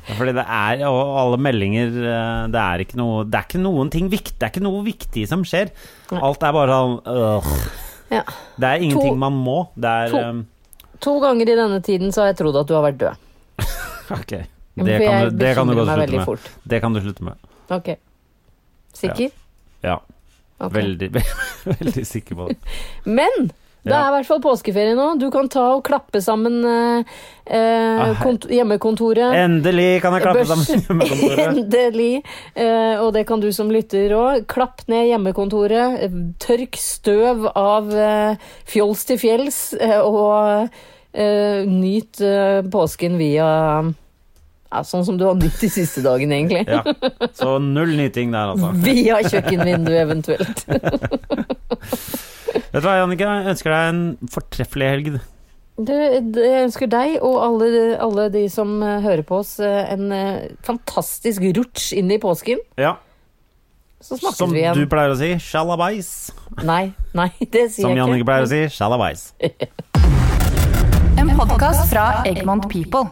Ja, Fordi det er Og alle meldinger eh, Det er ikke noe Det er ikke noen ting viktig Det er ikke noe viktig som skjer. Nei. Alt er bare sånn øh. Ja. Det er ingenting To- man må. Det er to- ehm, To ganger i denne tiden så har jeg trodd at du har vært død. Ok. men Det for kan, jeg du, det kan du bekymrer godt meg slutte veldig med. fort. Det kan du slutte med. Ok. Sikker? Ja. Ok. Veldig, <laughs> veldig sikker på det. Men! Det Ja. er i hvert fall påskeferie nå. Du kan ta og klappe sammen eh, eh, Ah, hei. kont hjemmekontoret. Endelig kan jeg klappe Børs- sammen hjemmekontoret. <laughs> Endelig. Eh, og det kan du som lytter òg. Klapp ned hjemmekontoret. eh, Tørk støv av eh, fjols til fjells, eh, og eh, nyt eh, påsken via ja, Sånn som du har nytt de siste dagene, egentlig. Ja. Så null nyting der, altså. Via kjøkkenvinduet, eventuelt. Vet du hva, Jannicke? Jeg ønsker deg en fortreffelig helg. Du, det- jeg ønsker deg og alle, alle de som eh, hører på oss, eh, en eh, fantastisk rutsj inn i påsken. Ja. Så snakkes Som vi du igjen. pleier å si, shalabais. Nei, nei, <laughs> det sier Som jeg Jannicke ikke. pleier å si, shalabais. En podkast fra Egmont People.